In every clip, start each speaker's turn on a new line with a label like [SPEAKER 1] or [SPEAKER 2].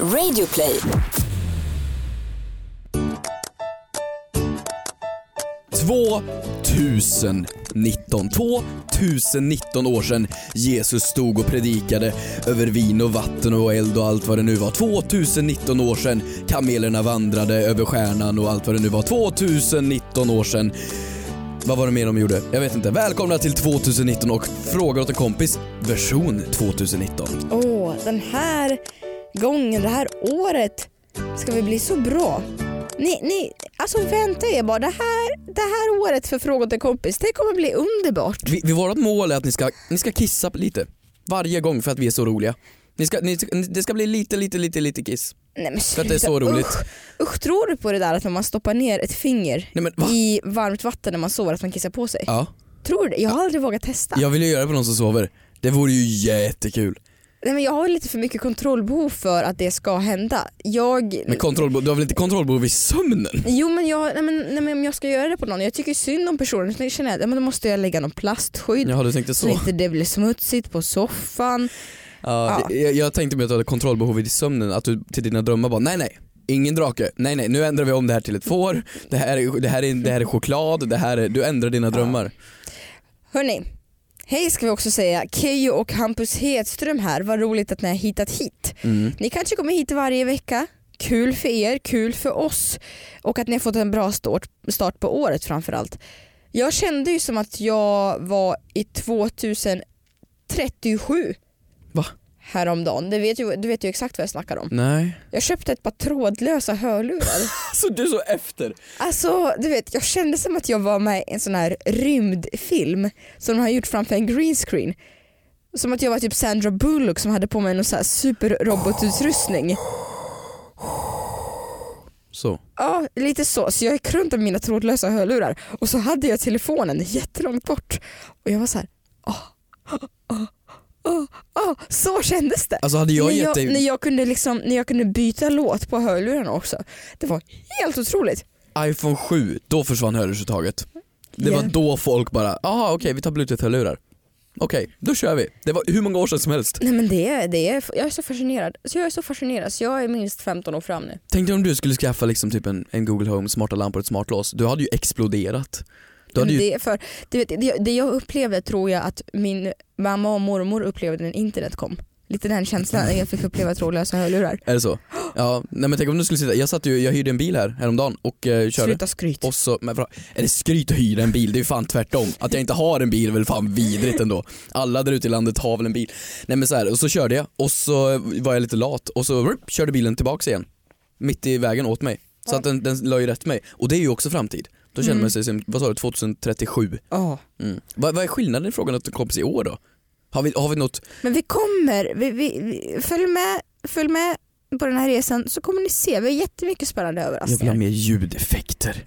[SPEAKER 1] Radioplay.
[SPEAKER 2] Två tusen nitton, två tusen nitton år sedan Jesus stod och predikade över vin och vatten och eld och allt vad det nu var. Två tusen nitton år sedan kamelerna vandrade över stjärnan och allt vad det nu var. Två tusen nitton år sedan vad var det mer de gjorde? Jag vet inte. Välkomna till 2019 och Frågar åt en kompis version 2019.
[SPEAKER 3] Åh, den här gången, det här året ska vi bli så bra. Ni, ni, alltså vänta er bara. Det här, det här året för Fråga åt en kompis, det kommer bli underbart.
[SPEAKER 2] Vi, vi, vårt mål är att ni ska, ni ska kissa lite varje gång för att vi är så roliga. Ni ska, ni, ska- det ska bli lite, lite, lite, lite kiss.
[SPEAKER 3] Nej, men
[SPEAKER 2] För att det är så
[SPEAKER 3] sluta.
[SPEAKER 2] roligt.
[SPEAKER 3] Usch, usch, tror du på det där att när man stoppar ner ett finger
[SPEAKER 2] Nej men va?
[SPEAKER 3] i varmt vatten när man sover att man kissar på sig?
[SPEAKER 2] Ja,
[SPEAKER 3] Tror du det? Jag har aldrig vågat testa.
[SPEAKER 2] jag vill ju göra det på någon som sover. Det vore ju jättekul.
[SPEAKER 3] Nej, men jag har lite för mycket kontrollbehov för att det ska hända. Jag...
[SPEAKER 2] Men kontrollbo- du har väl inte kontrollbehov i sömnen?
[SPEAKER 3] Jo men, jag, nej, men, nej, men om jag ska göra det på någon, jag tycker synd om personen, så känner jag att ja, men då måste jag lägga någon plastskydd
[SPEAKER 2] Jaha du tänkte
[SPEAKER 3] Så
[SPEAKER 2] så.
[SPEAKER 3] inte det blir smutsigt på soffan.
[SPEAKER 2] Ja, jag, jag tänkte mer att du hade kontrollbehov i sömnen, att du till dina drömmar bara nej nej. Ingen drake, nej nej nu ändrar vi om det här till ett får, det här är, det här är, det här är choklad, det här är, du ändrar dina drömmar.
[SPEAKER 3] Hörni, hej ska vi också säga. Keyyo och Hampus Hedström här. Vad roligt att ni har hittat hit.
[SPEAKER 2] Mm.
[SPEAKER 3] Ni kanske kommer hit varje vecka. Kul för er, kul för oss och att ni har fått en bra start, start på året framförallt. Jag kände ju som att jag var i 2037
[SPEAKER 2] Va?
[SPEAKER 3] häromdagen. Du vet, ju, du vet ju exakt vad jag snackar om.
[SPEAKER 2] Nej.
[SPEAKER 3] Jag köpte ett par trådlösa hörlurar.
[SPEAKER 2] Så du är så efter?
[SPEAKER 3] Alltså du vet, jag kände som att jag var med i en sån här rymdfilm som de har gjort framför en green screen. Som att jag var typ Sandra Bullock som hade på mig någon sån här superrobotutrustning.
[SPEAKER 2] Så.
[SPEAKER 3] Ja, lite så. Så jag gick runt med mina trådlösa hörlurar och så hade jag telefonen jättelångt bort. Och jag var så här, "Ah, åh, åh, åh, åh, ah, så kändes det.
[SPEAKER 2] Alltså hade jag
[SPEAKER 3] när,
[SPEAKER 2] gett
[SPEAKER 3] jag, när,
[SPEAKER 2] dig
[SPEAKER 3] jag kunde liksom, när jag kunde byta låt på hörlurarna också. Det var helt otroligt.
[SPEAKER 2] iPhone 7, då försvann hörlursuttaget. Det var
[SPEAKER 3] Ja.
[SPEAKER 2] då folk bara, aha okej vi tar bluetooth-hörlurar. Okej, då kör vi. Det var hur många år sedan som helst.
[SPEAKER 3] Nej men det är, det är, jag är så fascinerad. Så jag är så fascinerad så jag är minst 15 år fram nu.
[SPEAKER 2] Tänk dig om du skulle skaffa liksom typ en, en Google Home, smarta lampor och ett smart lås. Du hade ju exploderat. Du hade ju,
[SPEAKER 3] Men det, är för, du vet, det, det jag upplevde tror jag att min mamma och mormor upplevde när internet kom. Lite den känslan när jag fick uppleva trådlösa hörlurar.
[SPEAKER 2] är det så? Ja, nej men tänk om du skulle sitta, jag satt ju, jag hyrde en bil här häromdagen och eh, körde.
[SPEAKER 3] Sluta skryt.
[SPEAKER 2] Och så, men vadå? är det skryt att hyra en bil? Det är ju fan tvärtom. Att jag inte har en bil är väl fan vidrigt ändå. Alla där ute i landet har väl en bil. Nej men så här, och så körde jag och så var jag lite lat och så rup, körde bilen tillbaks igen. Mitt i vägen åt mig. Så att den, den la ju rätt mig. Och det är ju också framtid. Då känner man sig som, vad sa du, 2037?
[SPEAKER 3] Mm. Ja.
[SPEAKER 2] Mm. Vad, vad är skillnaden i frågan att en kompis i år då? Har vi, har vi något,
[SPEAKER 3] Men vi kommer, vi, vi, vi, följ, med, följ med på den här resan så kommer ni se, vi har jättemycket spännande
[SPEAKER 2] jag vill ha
[SPEAKER 3] överraskningar.
[SPEAKER 2] mer ljudeffekter.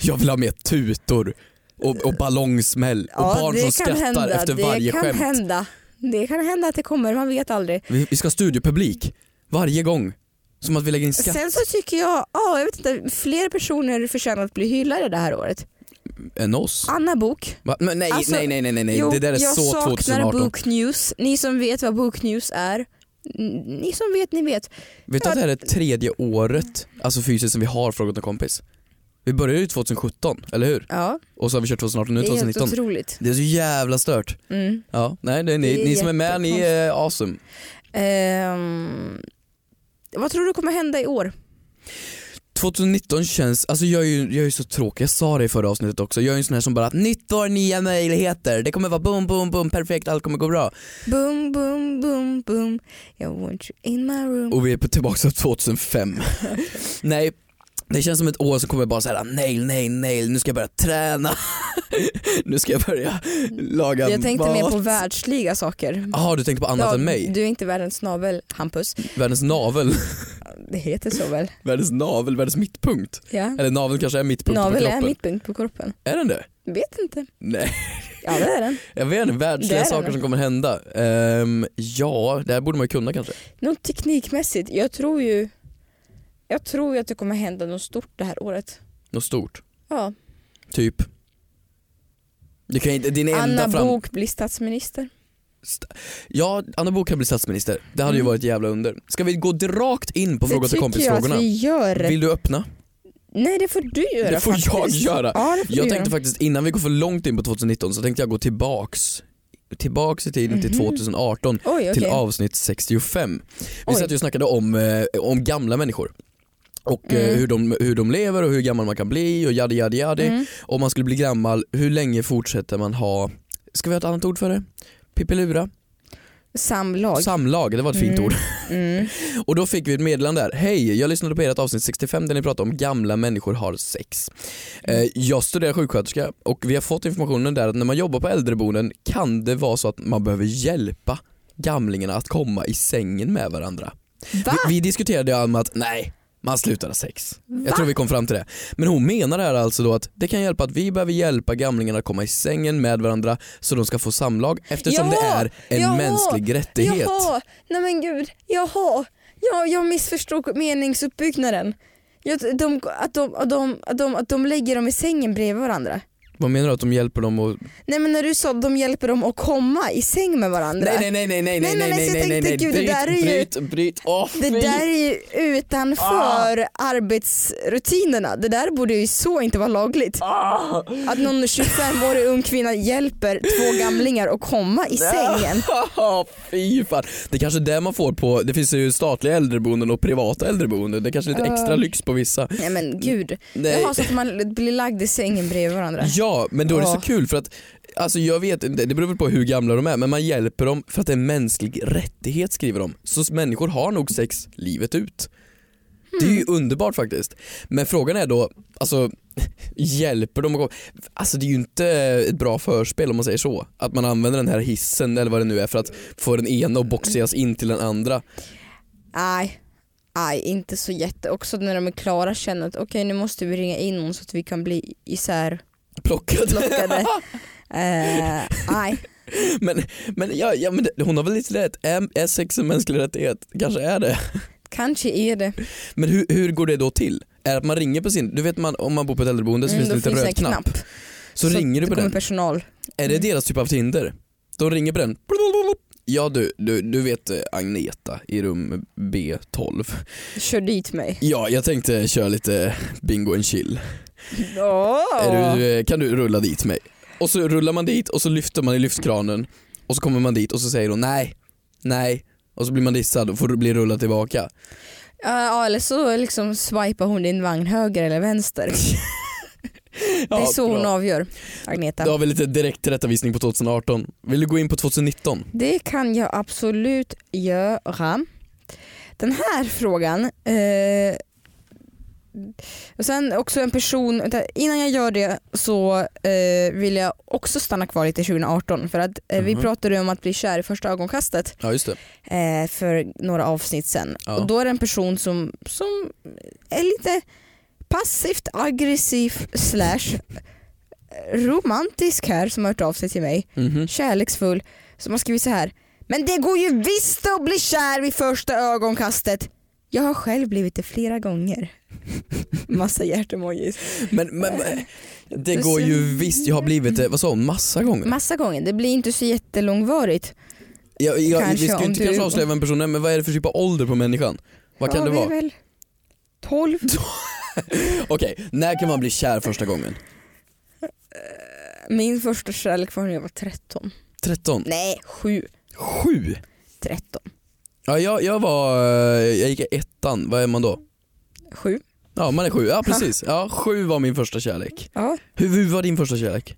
[SPEAKER 2] Jag vill ha mer tutor. Och, och ballongsmäll. Och barn som skrattar efter varje
[SPEAKER 3] det kan
[SPEAKER 2] skämt.
[SPEAKER 3] Hända. Det kan hända att det kommer, man vet aldrig.
[SPEAKER 2] Vi, vi ska ha studiopublik varje gång. Som att vi lägger in skatt.
[SPEAKER 3] Sen så tycker jag, ja jag vet inte, fler personer förtjänar att bli hyllade det här året.
[SPEAKER 2] Än oss.
[SPEAKER 3] Anna Bok.
[SPEAKER 2] Va? Men nej,
[SPEAKER 3] Ah, Alltså,
[SPEAKER 2] nej, nej, nej, nej, nej.
[SPEAKER 3] Jo,
[SPEAKER 2] det där är
[SPEAKER 3] jag
[SPEAKER 2] så
[SPEAKER 3] saknar
[SPEAKER 2] 2018.
[SPEAKER 3] Book News. Ni som vet vad Book News är, n- ni som vet, ni vet.
[SPEAKER 2] Vet du att det här är tredje året, alltså fysiskt, som vi har Frågat en kompis? Vi började ju 2017, eller hur?
[SPEAKER 3] Ja,
[SPEAKER 2] Och så har vi kört 2018, nu
[SPEAKER 3] det är helt
[SPEAKER 2] 2019.
[SPEAKER 3] otroligt.
[SPEAKER 2] Det är så jävla stört.
[SPEAKER 3] Mm.
[SPEAKER 2] Ja, nej, det är ni,
[SPEAKER 3] Det är
[SPEAKER 2] ni som är med, ni är awesome.
[SPEAKER 3] Ehm, vad tror du kommer hända i år?
[SPEAKER 2] 2019 känns, alltså jag är ju, jag är ju så tråkig, jag sa det i förra avsnittet också, jag är ju en sån här som bara att nytt år, nya möjligheter, det kommer vara boom, boom, boom, perfekt, allt kommer gå bra.
[SPEAKER 3] Boom, boom, boom, boom. I want you in my room.
[SPEAKER 2] Och vi är på tillbaka till 2005. nej, det känns som ett år som kommer bara så här: nej, nej, nej, nu ska jag börja träna. nu ska jag börja laga
[SPEAKER 3] Jag tänkte
[SPEAKER 2] mat.
[SPEAKER 3] mer på världsliga saker.
[SPEAKER 2] Jaha, du tänkte på Ah, annat
[SPEAKER 3] Ja,
[SPEAKER 2] än mig?
[SPEAKER 3] Du är inte världens navel, Hampus.
[SPEAKER 2] Världens navel,
[SPEAKER 3] Det heter så väl?
[SPEAKER 2] världens navel, världens mittpunkt.
[SPEAKER 3] Ja.
[SPEAKER 2] Eller naveln kanske är mittpunkt på
[SPEAKER 3] Navel är
[SPEAKER 2] kroppen.
[SPEAKER 3] mittpunkt på kroppen.
[SPEAKER 2] Är den det?
[SPEAKER 3] Vet inte.
[SPEAKER 2] Nej,
[SPEAKER 3] Ja det är den.
[SPEAKER 2] jag vet inte,
[SPEAKER 3] Det är
[SPEAKER 2] världsliga
[SPEAKER 3] den.
[SPEAKER 2] saker som kommer hända. Ehm, ja, det här borde man ju kunna kanske.
[SPEAKER 3] Något teknikmässigt. Jag tror ju jag tror ju att det kommer hända något stort det här året.
[SPEAKER 2] Något stort,
[SPEAKER 3] Ja.
[SPEAKER 2] typ. Du kan ju inte, din enda
[SPEAKER 3] Anna
[SPEAKER 2] fram...
[SPEAKER 3] Bok blir statsminister.
[SPEAKER 2] st- Ja, Anna Bok kan bli statsminister. Det hade ju varit jävla under. Ska vi gå rakt in på fråga
[SPEAKER 3] Mm. det
[SPEAKER 2] till
[SPEAKER 3] tycker jag att
[SPEAKER 2] kompisfrågorna?
[SPEAKER 3] vi gör.
[SPEAKER 2] Vill du öppna?
[SPEAKER 3] Nej det får du göra
[SPEAKER 2] Det får jag
[SPEAKER 3] faktiskt.
[SPEAKER 2] göra.
[SPEAKER 3] Ja, det får
[SPEAKER 2] Jag
[SPEAKER 3] du
[SPEAKER 2] tänkte
[SPEAKER 3] göra.
[SPEAKER 2] faktiskt innan vi går för långt in på 2019 så tänkte jag gå tillbaks Tillbaks i tiden till 2018
[SPEAKER 3] Oj, Mhm. okej.
[SPEAKER 2] till avsnitt 65. Vi
[SPEAKER 3] Oj.
[SPEAKER 2] satt ju och snackade om, eh, om gamla människor. Och
[SPEAKER 3] Mm.
[SPEAKER 2] eh, hur, de, hur de lever och hur gammal man kan bli och yadi yadi yadi.
[SPEAKER 3] Mm.
[SPEAKER 2] Om man skulle bli gammal, hur länge fortsätter man ha, ska vi ha ett annat ord för det? Pippelura?
[SPEAKER 3] Samlag.
[SPEAKER 2] Samlag, det var ett fint
[SPEAKER 3] Mm.
[SPEAKER 2] ord.
[SPEAKER 3] Mm.
[SPEAKER 2] Och då fick vi ett meddelande där. Hej, jag lyssnade på ert avsnitt 65 där ni pratade om gamla människor har sex. Eh, jag studerar sjuksköterska och vi har fått informationen där att när man jobbar på äldreboenden kan det vara så att man behöver hjälpa gamlingarna att komma i sängen med varandra.
[SPEAKER 3] Va?
[SPEAKER 2] Vi, vi diskuterade ju om att nej, man slutar ha sex. Jag tror vi kom fram till det. Men hon menar här alltså då att det kan hjälpa att vi behöver hjälpa gamlingarna att komma i sängen med varandra så de ska få samlag eftersom det
[SPEAKER 3] Jaha,
[SPEAKER 2] är en
[SPEAKER 3] jaha,
[SPEAKER 2] mänsklig rättighet.
[SPEAKER 3] Jaha, nej men gud. Jaha. Ja, jag missförstod meningsuppbyggnaden. Ja, att de, att, de, att, de, att, de, att de lägger dem i sängen bredvid varandra.
[SPEAKER 2] Vad menar du att de hjälper dem att
[SPEAKER 3] Nej men när du sa att de hjälper dem att komma i säng med varandra.
[SPEAKER 2] Nej nej nej nej nej nej
[SPEAKER 3] Nej, nej,
[SPEAKER 2] nej
[SPEAKER 3] nej, så
[SPEAKER 2] nej nej
[SPEAKER 3] tänkte
[SPEAKER 2] nej
[SPEAKER 3] jag, gud, det där är ju-
[SPEAKER 2] bryt bryt bryt åh
[SPEAKER 3] Det
[SPEAKER 2] fy.
[SPEAKER 3] där är ju utanför
[SPEAKER 2] Ah.
[SPEAKER 3] arbetsrutinerna. Det där borde ju så inte vara lagligt.
[SPEAKER 2] Ah!
[SPEAKER 3] Att någon 25-årig ung kvinna hjälper två gamlingar att komma i sängen.
[SPEAKER 2] Fy fan. Det är kanske är det man får på, det finns ju statliga äldreboenden och privata äldreboenden. Det är kanske är lite
[SPEAKER 3] Ja.
[SPEAKER 2] extra lyx på vissa.
[SPEAKER 3] Nej men gud.
[SPEAKER 2] Nej.
[SPEAKER 3] Jaha, så att man blir lagd i sängen bredvid varandra.
[SPEAKER 2] Ja men då är det så
[SPEAKER 3] Ja.
[SPEAKER 2] kul för att Alltså jag vet inte, det beror väl på hur gamla de är men man hjälper dem för att det är en mänsklig rättighet skriver de. Så människor har nog sex livet ut. Det är ju
[SPEAKER 3] Hmm.
[SPEAKER 2] underbart faktiskt. Men frågan är då, alltså hjälper de att gå? Alltså det är ju inte ett bra förspel om man säger så. Att man använder den här hissen eller vad det nu är för att få den ena att boxeras in till den andra.
[SPEAKER 3] Nej, nej inte så jätte. Också när de är klara känner att okej nu måste vi ringa in någon så att vi kan bli isär.
[SPEAKER 2] Plockat.
[SPEAKER 3] Plockade. Eh, Nej,
[SPEAKER 2] men men, ja, ja, men det, hon har väl lite rätt, är, är sex en mänsklig rättighet? Kanske är det.
[SPEAKER 3] kanske är det.
[SPEAKER 2] Men hur, hur går det då till? Är det att man ringer på sin, du vet man, om man bor på ett äldreboende så
[SPEAKER 3] Mm,
[SPEAKER 2] finns det en
[SPEAKER 3] då
[SPEAKER 2] liten
[SPEAKER 3] finns det
[SPEAKER 2] röd
[SPEAKER 3] en
[SPEAKER 2] knapp.
[SPEAKER 3] knapp.
[SPEAKER 2] Så, ringer du
[SPEAKER 3] det
[SPEAKER 2] på
[SPEAKER 3] kommer Mm.
[SPEAKER 2] den.
[SPEAKER 3] personal.
[SPEAKER 2] Är det deras typ av Tinder? De ringer på den. Ja du, du, du vet eh, Agneta i rum B12.
[SPEAKER 3] Kör dit mig.
[SPEAKER 2] Ja, jag tänkte köra lite bingo and chill.
[SPEAKER 3] Oh.
[SPEAKER 2] Är du, eh, kan du rulla dit mig? Och så rullar man dit och så lyfter man i lyftkranen och så kommer man dit och så säger hon nej, nej. Och så blir man dissad och får bli rullad tillbaka.
[SPEAKER 3] Ja eller så liksom swipar hon din vagn höger eller vänster. Det är
[SPEAKER 2] Ja,
[SPEAKER 3] så hon
[SPEAKER 2] bra.
[SPEAKER 3] avgör Agneta.
[SPEAKER 2] Då har vi lite direkt tillrättavisning på 2018. Vill du gå in på 2019?
[SPEAKER 3] Det kan jag absolut göra. Den här frågan. Eh, och sen också en person, vänta, innan jag gör det så eh, vill jag också stanna kvar lite 2018 för att eh, vi
[SPEAKER 2] Mhm.
[SPEAKER 3] pratade ju om att bli kär i första ögonkastet
[SPEAKER 2] Ja just det.
[SPEAKER 3] eh, för några avsnitt sen.
[SPEAKER 2] Ja.
[SPEAKER 3] Och då är det en person som, som är lite passivt aggressiv slash romantisk här som har hört av sig till mig
[SPEAKER 2] Mhm.
[SPEAKER 3] kärleksfull som har skrivit så här. Men det går ju visst att bli kär vid första ögonkastet. Jag har själv blivit det flera gånger. Massa hjärtemojis.
[SPEAKER 2] Men, men men, det går ju visst, jag har blivit det, vad sa hon, massa gånger?
[SPEAKER 3] Massa gånger, det blir inte så jättelångvarigt.
[SPEAKER 2] Jag, jag, vi ska
[SPEAKER 3] Kanske
[SPEAKER 2] ju
[SPEAKER 3] om
[SPEAKER 2] inte
[SPEAKER 3] du-
[SPEAKER 2] kanske avslöja vem personen är, men vad är det för typ av ålder på människan? Vad kan
[SPEAKER 3] Ja,
[SPEAKER 2] det
[SPEAKER 3] vi är
[SPEAKER 2] vara?
[SPEAKER 3] Väl 12?
[SPEAKER 2] Okej, när kan man bli kär första gången?
[SPEAKER 3] Min första kärlek var när jag var 13.
[SPEAKER 2] 13?
[SPEAKER 3] Nej, 7.
[SPEAKER 2] 7?
[SPEAKER 3] 13.
[SPEAKER 2] Ja jag, jag var, eh, jag gick i ettan, vad är man då?
[SPEAKER 3] 7.
[SPEAKER 2] Ja man är sju, ja precis. Ja, sju var min första kärlek.
[SPEAKER 3] Ja.
[SPEAKER 2] Hur, hur var din första kärlek?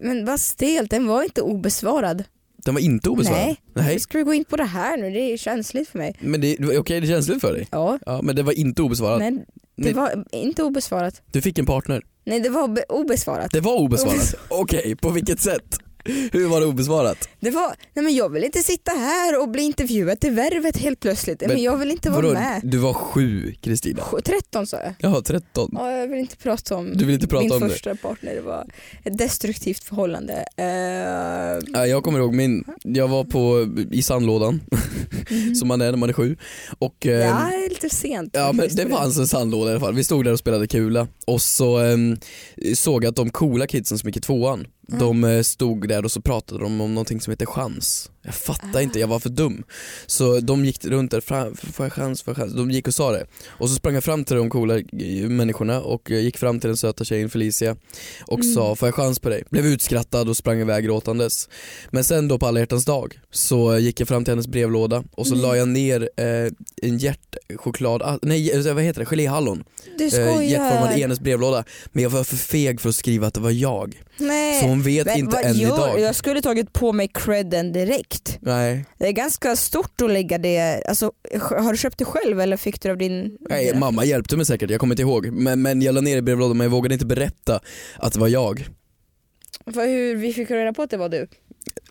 [SPEAKER 3] Men vad stelt, den var inte obesvarad.
[SPEAKER 2] Den var inte obesvarad?
[SPEAKER 3] Nej.
[SPEAKER 2] Nej.
[SPEAKER 3] Ska vi gå in på det här nu? Det är känsligt för mig.
[SPEAKER 2] Men det, det var- okej det är känsligt för dig?
[SPEAKER 3] Ja,
[SPEAKER 2] Ja men det var inte obesvarad.
[SPEAKER 3] men det
[SPEAKER 2] Nej.
[SPEAKER 3] var inte obesvarat.
[SPEAKER 2] Du fick en partner.
[SPEAKER 3] Nej det var obe- obesvarat.
[SPEAKER 2] Det var obesvarat?
[SPEAKER 3] Obes-
[SPEAKER 2] Okej, på vilket sätt? Hur var det obesvarat?
[SPEAKER 3] Det var, nej men jag vill inte sitta här och bli intervjuad till Värvet helt plötsligt. Men,
[SPEAKER 2] Men
[SPEAKER 3] men jag vill inte vara
[SPEAKER 2] Vadå,
[SPEAKER 3] med.
[SPEAKER 2] du var sju Kristina?
[SPEAKER 3] Sju- 13 sa jag.
[SPEAKER 2] Jaha, 13.
[SPEAKER 3] Ja, jag vill inte prata om
[SPEAKER 2] Du vill inte
[SPEAKER 3] min
[SPEAKER 2] prata om det?
[SPEAKER 3] första partner. Det var ett destruktivt förhållande. Eh,
[SPEAKER 2] Ja, Jag kommer ihåg min, jag var på, i sandlådan, som man är när man är sju. Och, eh,
[SPEAKER 3] Mm-hmm. ja, det är lite sent.
[SPEAKER 2] Ja men
[SPEAKER 3] faktiskt
[SPEAKER 2] det
[SPEAKER 3] på
[SPEAKER 2] fanns en sandlåda i alla fall. Vi stod där och spelade kula och så ehm, såg jag att de coola kidsen som gick i tvåan,
[SPEAKER 3] Mm.
[SPEAKER 2] De eh, stod där och så pratade de om någonting som heter chans. Jag
[SPEAKER 3] Ah.
[SPEAKER 2] fattar inte, jag var för dum. Så de gick runt där, fram, får jag chans, får jag chans? De gick och sa det. Och så sprang jag fram till de coola eh, människorna och eh, gick fram till den söta tjejen Felicia och
[SPEAKER 3] Mm.
[SPEAKER 2] sa får jag chans på dig? Blev utskrattad och sprang iväg gråtandes. Men sen då på alla hjärtans dag så eh, gick jag fram till hennes brevlåda och
[SPEAKER 3] Mm.
[SPEAKER 2] så la jag ner eh, en hjärtchoklad, ah, nej eh, vad heter det, geléhallon.
[SPEAKER 3] Du
[SPEAKER 2] Eh, hjärtformad i
[SPEAKER 3] skojar.
[SPEAKER 2] hennes brevlåda. Men jag var för feg för att skriva att det var jag.
[SPEAKER 3] Nej.
[SPEAKER 2] Så hon vet
[SPEAKER 3] Eh, Men
[SPEAKER 2] inte
[SPEAKER 3] vad
[SPEAKER 2] än
[SPEAKER 3] gör
[SPEAKER 2] idag.
[SPEAKER 3] du? Jag skulle tagit på mig credden direkt.
[SPEAKER 2] Nej,
[SPEAKER 3] Det är ganska stort att lägga det, alltså, har du köpt det själv eller fick du det av din?
[SPEAKER 2] nej mamma hjälpte mig säkert, jag kommer inte ihåg. Men, men jag la ner i brevlådan men jag vågade inte berätta att det var jag.
[SPEAKER 3] För hur vi fick reda på att det var du?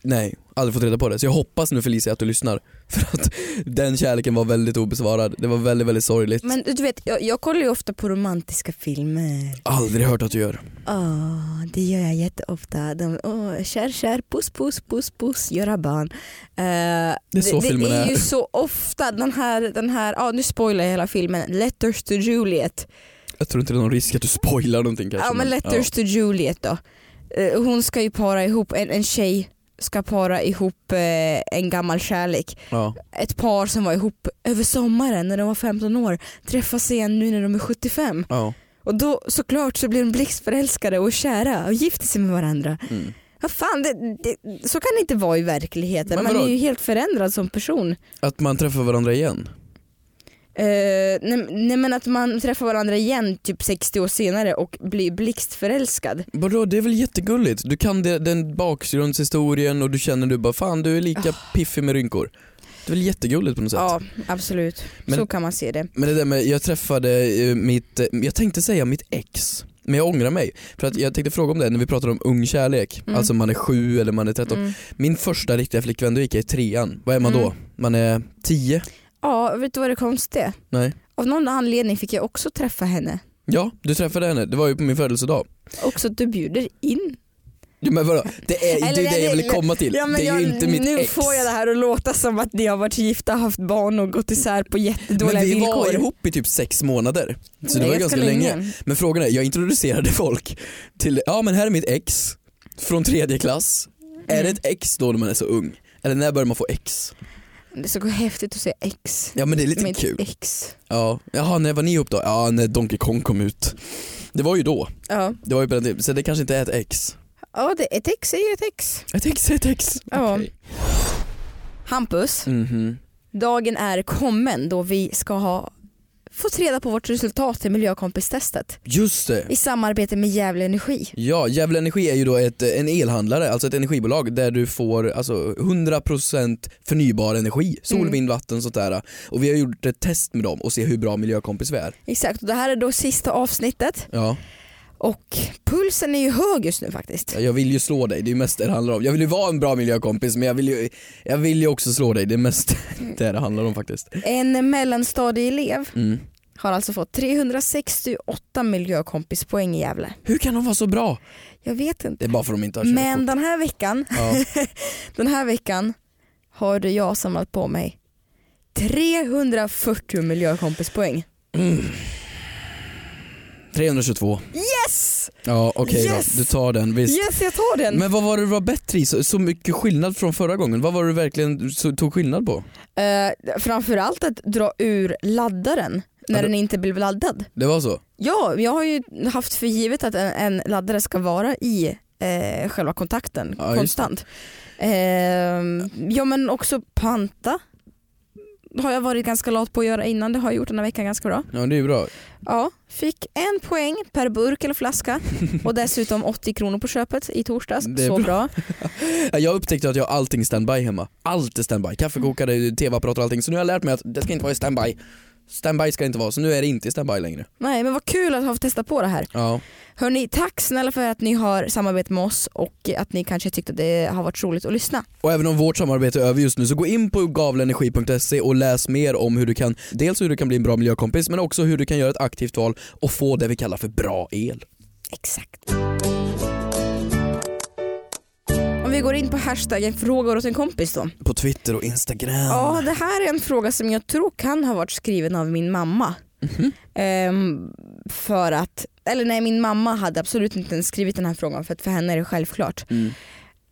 [SPEAKER 2] Nej, aldrig fått reda på det. Så jag hoppas nu Felicia att du lyssnar. För att den kärleken var väldigt obesvarad. Det var väldigt, väldigt sorgligt.
[SPEAKER 3] Men du vet, jag, jag kollar ju ofta på romantiska filmer.
[SPEAKER 2] Aldrig hört att du gör.
[SPEAKER 3] Åh, det gör jag jätteofta. De, åh, kär, kär, puss, puss, puss, puss, göra barn. Eh,
[SPEAKER 2] är så
[SPEAKER 3] det,
[SPEAKER 2] filmen
[SPEAKER 3] det är
[SPEAKER 2] är.
[SPEAKER 3] ju så ofta den här, den här ah, nu spoilar jag hela filmen, Letters to Juliet.
[SPEAKER 2] Jag tror inte det är någon risk att du spoilar någonting kanske.
[SPEAKER 3] Ja men Letters to Juliet då. Eh, Hon ska ju para ihop, en, en tjej ska para ihop eh, en gammal kärlek.
[SPEAKER 2] Ja,
[SPEAKER 3] Ett par som var ihop över sommaren när de var 15 år träffas igen nu när de är 75.
[SPEAKER 2] ja,
[SPEAKER 3] Och då såklart så blir de blixtförälskade och kära och gifter sig med varandra.
[SPEAKER 2] ja. Mm.
[SPEAKER 3] Vad fan, det, det, så kan det inte vara i verkligheten.
[SPEAKER 2] Men
[SPEAKER 3] Man
[SPEAKER 2] vadå?
[SPEAKER 3] är ju helt förändrad som person.
[SPEAKER 2] Att man träffar varandra igen.
[SPEAKER 3] Eh, nej, nej men att man träffar varandra igen typ 60 år senare och blir blixtförälskad.
[SPEAKER 2] Vadå, det är väl jättegulligt? Du kan det, den bakgrundshistorien och du känner du bara fan du är lika
[SPEAKER 3] Ah.
[SPEAKER 2] piffig med rynkor. Det är väl jättegulligt på något sätt?
[SPEAKER 3] Ja absolut,
[SPEAKER 2] Men-
[SPEAKER 3] så kan man se det.
[SPEAKER 2] Men det där med, jag träffade eh, mitt, eh, jag tänkte säga mitt ex, men jag ångrar mig. För att jag tänkte fråga om det när vi pratade om ung kärlek,
[SPEAKER 3] Mm.
[SPEAKER 2] alltså man är sju eller man är tretton.
[SPEAKER 3] Mm.
[SPEAKER 2] Min första riktiga flickvän, då gick jag i trean. Vad är man då?
[SPEAKER 3] Mm.
[SPEAKER 2] Man är tio?
[SPEAKER 3] Ja vet du vad det konstiga är?
[SPEAKER 2] Nej.
[SPEAKER 3] Av någon anledning fick jag också träffa henne.
[SPEAKER 2] Ja, du träffade henne, det var ju på min födelsedag.
[SPEAKER 3] Också att du bjuder in.
[SPEAKER 2] Ja, men vadå? Det är ju
[SPEAKER 3] Eller,
[SPEAKER 2] det, det jag vill
[SPEAKER 3] eller-
[SPEAKER 2] komma till. det är ju inte mitt
[SPEAKER 3] nu
[SPEAKER 2] ex.
[SPEAKER 3] får jag det här att låta som att ni har varit gifta, haft barn och gått isär på jättedåliga
[SPEAKER 2] men vi
[SPEAKER 3] villkor.
[SPEAKER 2] var ihop i typ sex månader, så det var ju ganska länge. Men frågan är, jag introducerade folk till, ja men här är mitt ex från tredje klass. Är det
[SPEAKER 3] Mm.
[SPEAKER 2] ett ex då när man är så ung? Eller när börjar man få ex?
[SPEAKER 3] Det är så häftigt att säga ex.
[SPEAKER 2] Ja men det är lite
[SPEAKER 3] Mitt
[SPEAKER 2] kul.
[SPEAKER 3] ex.
[SPEAKER 2] Ja. Jaha, när var ni ihop då? Ja, när Donkey Kong kom ut. Det var ju då.
[SPEAKER 3] Ja.
[SPEAKER 2] Det var ju på den tiden. Så det kanske inte är ett ex.
[SPEAKER 3] ja, det, ett ex är ju ett ex.
[SPEAKER 2] Ett ex är ett ex.
[SPEAKER 3] Ja.
[SPEAKER 2] Okej.
[SPEAKER 3] Hampus,
[SPEAKER 2] Mhm.
[SPEAKER 3] dagen är kommen då vi ska ha fått reda på vårt resultat i miljökompistestet
[SPEAKER 2] Just det.
[SPEAKER 3] i samarbete med Gävle Energi.
[SPEAKER 2] Ja, Gävle Energi är ju då ett, en elhandlare, alltså ett energibolag där du får alltså, 100% förnybar energi. Sol,
[SPEAKER 3] Mm.
[SPEAKER 2] vind, vatten sånt där. Och vi har gjort ett test med dem och se hur bra miljökompis vi är.
[SPEAKER 3] Exakt, och det här är då sista avsnittet
[SPEAKER 2] Ja.
[SPEAKER 3] och pulsen är ju hög just nu faktiskt.
[SPEAKER 2] Jag vill ju slå dig, det är ju mest det det handlar om. Jag vill ju vara en bra miljökompis men jag vill ju, jag vill ju också slå dig, det är mest det det handlar om faktiskt.
[SPEAKER 3] En mellanstadieelev
[SPEAKER 2] Mm.
[SPEAKER 3] har alltså fått 368 miljökompispoäng i Gävle.
[SPEAKER 2] Hur kan de vara så bra?
[SPEAKER 3] Jag vet
[SPEAKER 2] Det
[SPEAKER 3] inte.
[SPEAKER 2] är bara för att de inte har körkort.
[SPEAKER 3] Men den här veckan,
[SPEAKER 2] Ja.
[SPEAKER 3] den här veckan har jag samlat på mig 340 miljökompispoäng.
[SPEAKER 2] 322.
[SPEAKER 3] Yes!
[SPEAKER 2] Ja okej
[SPEAKER 3] Yes!
[SPEAKER 2] då, du tar den visst.
[SPEAKER 3] Yes jag tar den!
[SPEAKER 2] Men vad var det du var bättre i? Så, så mycket skillnad från förra gången? Vad var det du verkligen så, tog skillnad på?
[SPEAKER 3] Eh, framförallt att dra ur laddaren när
[SPEAKER 2] Ja, det-
[SPEAKER 3] den inte blev laddad.
[SPEAKER 2] Det var så?
[SPEAKER 3] Ja, jag har ju haft för givet att en, en laddare ska vara i eh, själva kontakten
[SPEAKER 2] Ja, just det.
[SPEAKER 3] konstant. Ehm, ja men också panta har jag varit ganska lat på att göra innan, det har jag gjort den här veckan ganska bra.
[SPEAKER 2] Ja det är ju bra.
[SPEAKER 3] Ja, fick en poäng per burk eller flaska och dessutom 80 kronor på köpet i torsdags.
[SPEAKER 2] Det är
[SPEAKER 3] Så
[SPEAKER 2] bra.
[SPEAKER 3] bra.
[SPEAKER 2] Ja, Jag upptäckte att jag har allting standby hemma. Allt är standby. Kaffekokare, tv-apparat och allting. Så nu har jag lärt mig att det ska inte vara i standby. Standby ska det inte vara, så nu är det inte i standby längre.
[SPEAKER 3] Nej men vad kul att ha fått testa på det här.
[SPEAKER 2] Ja.
[SPEAKER 3] Hörni, tack snälla för att ni har samarbetat med oss och att ni kanske tyckte att det har varit roligt att lyssna.
[SPEAKER 2] Och även om vårt samarbete är över just nu så gå in på gavlenergi.se och läs mer om hur du kan, dels hur du kan bli en bra miljökompis men också hur du kan göra ett aktivt val och få det vi kallar för bra el.
[SPEAKER 3] Exakt. Om vi går in på hashtaggen frågor åt en kompis då.
[SPEAKER 2] På Twitter och Instagram.
[SPEAKER 3] Ja, det här är en fråga som
[SPEAKER 2] Mhm.
[SPEAKER 3] jag tror kan ha varit skriven av min mamma. Ehm, för att eller nej min mamma hade absolut inte ens skrivit den här frågan för att för henne är det självklart.
[SPEAKER 2] Mm.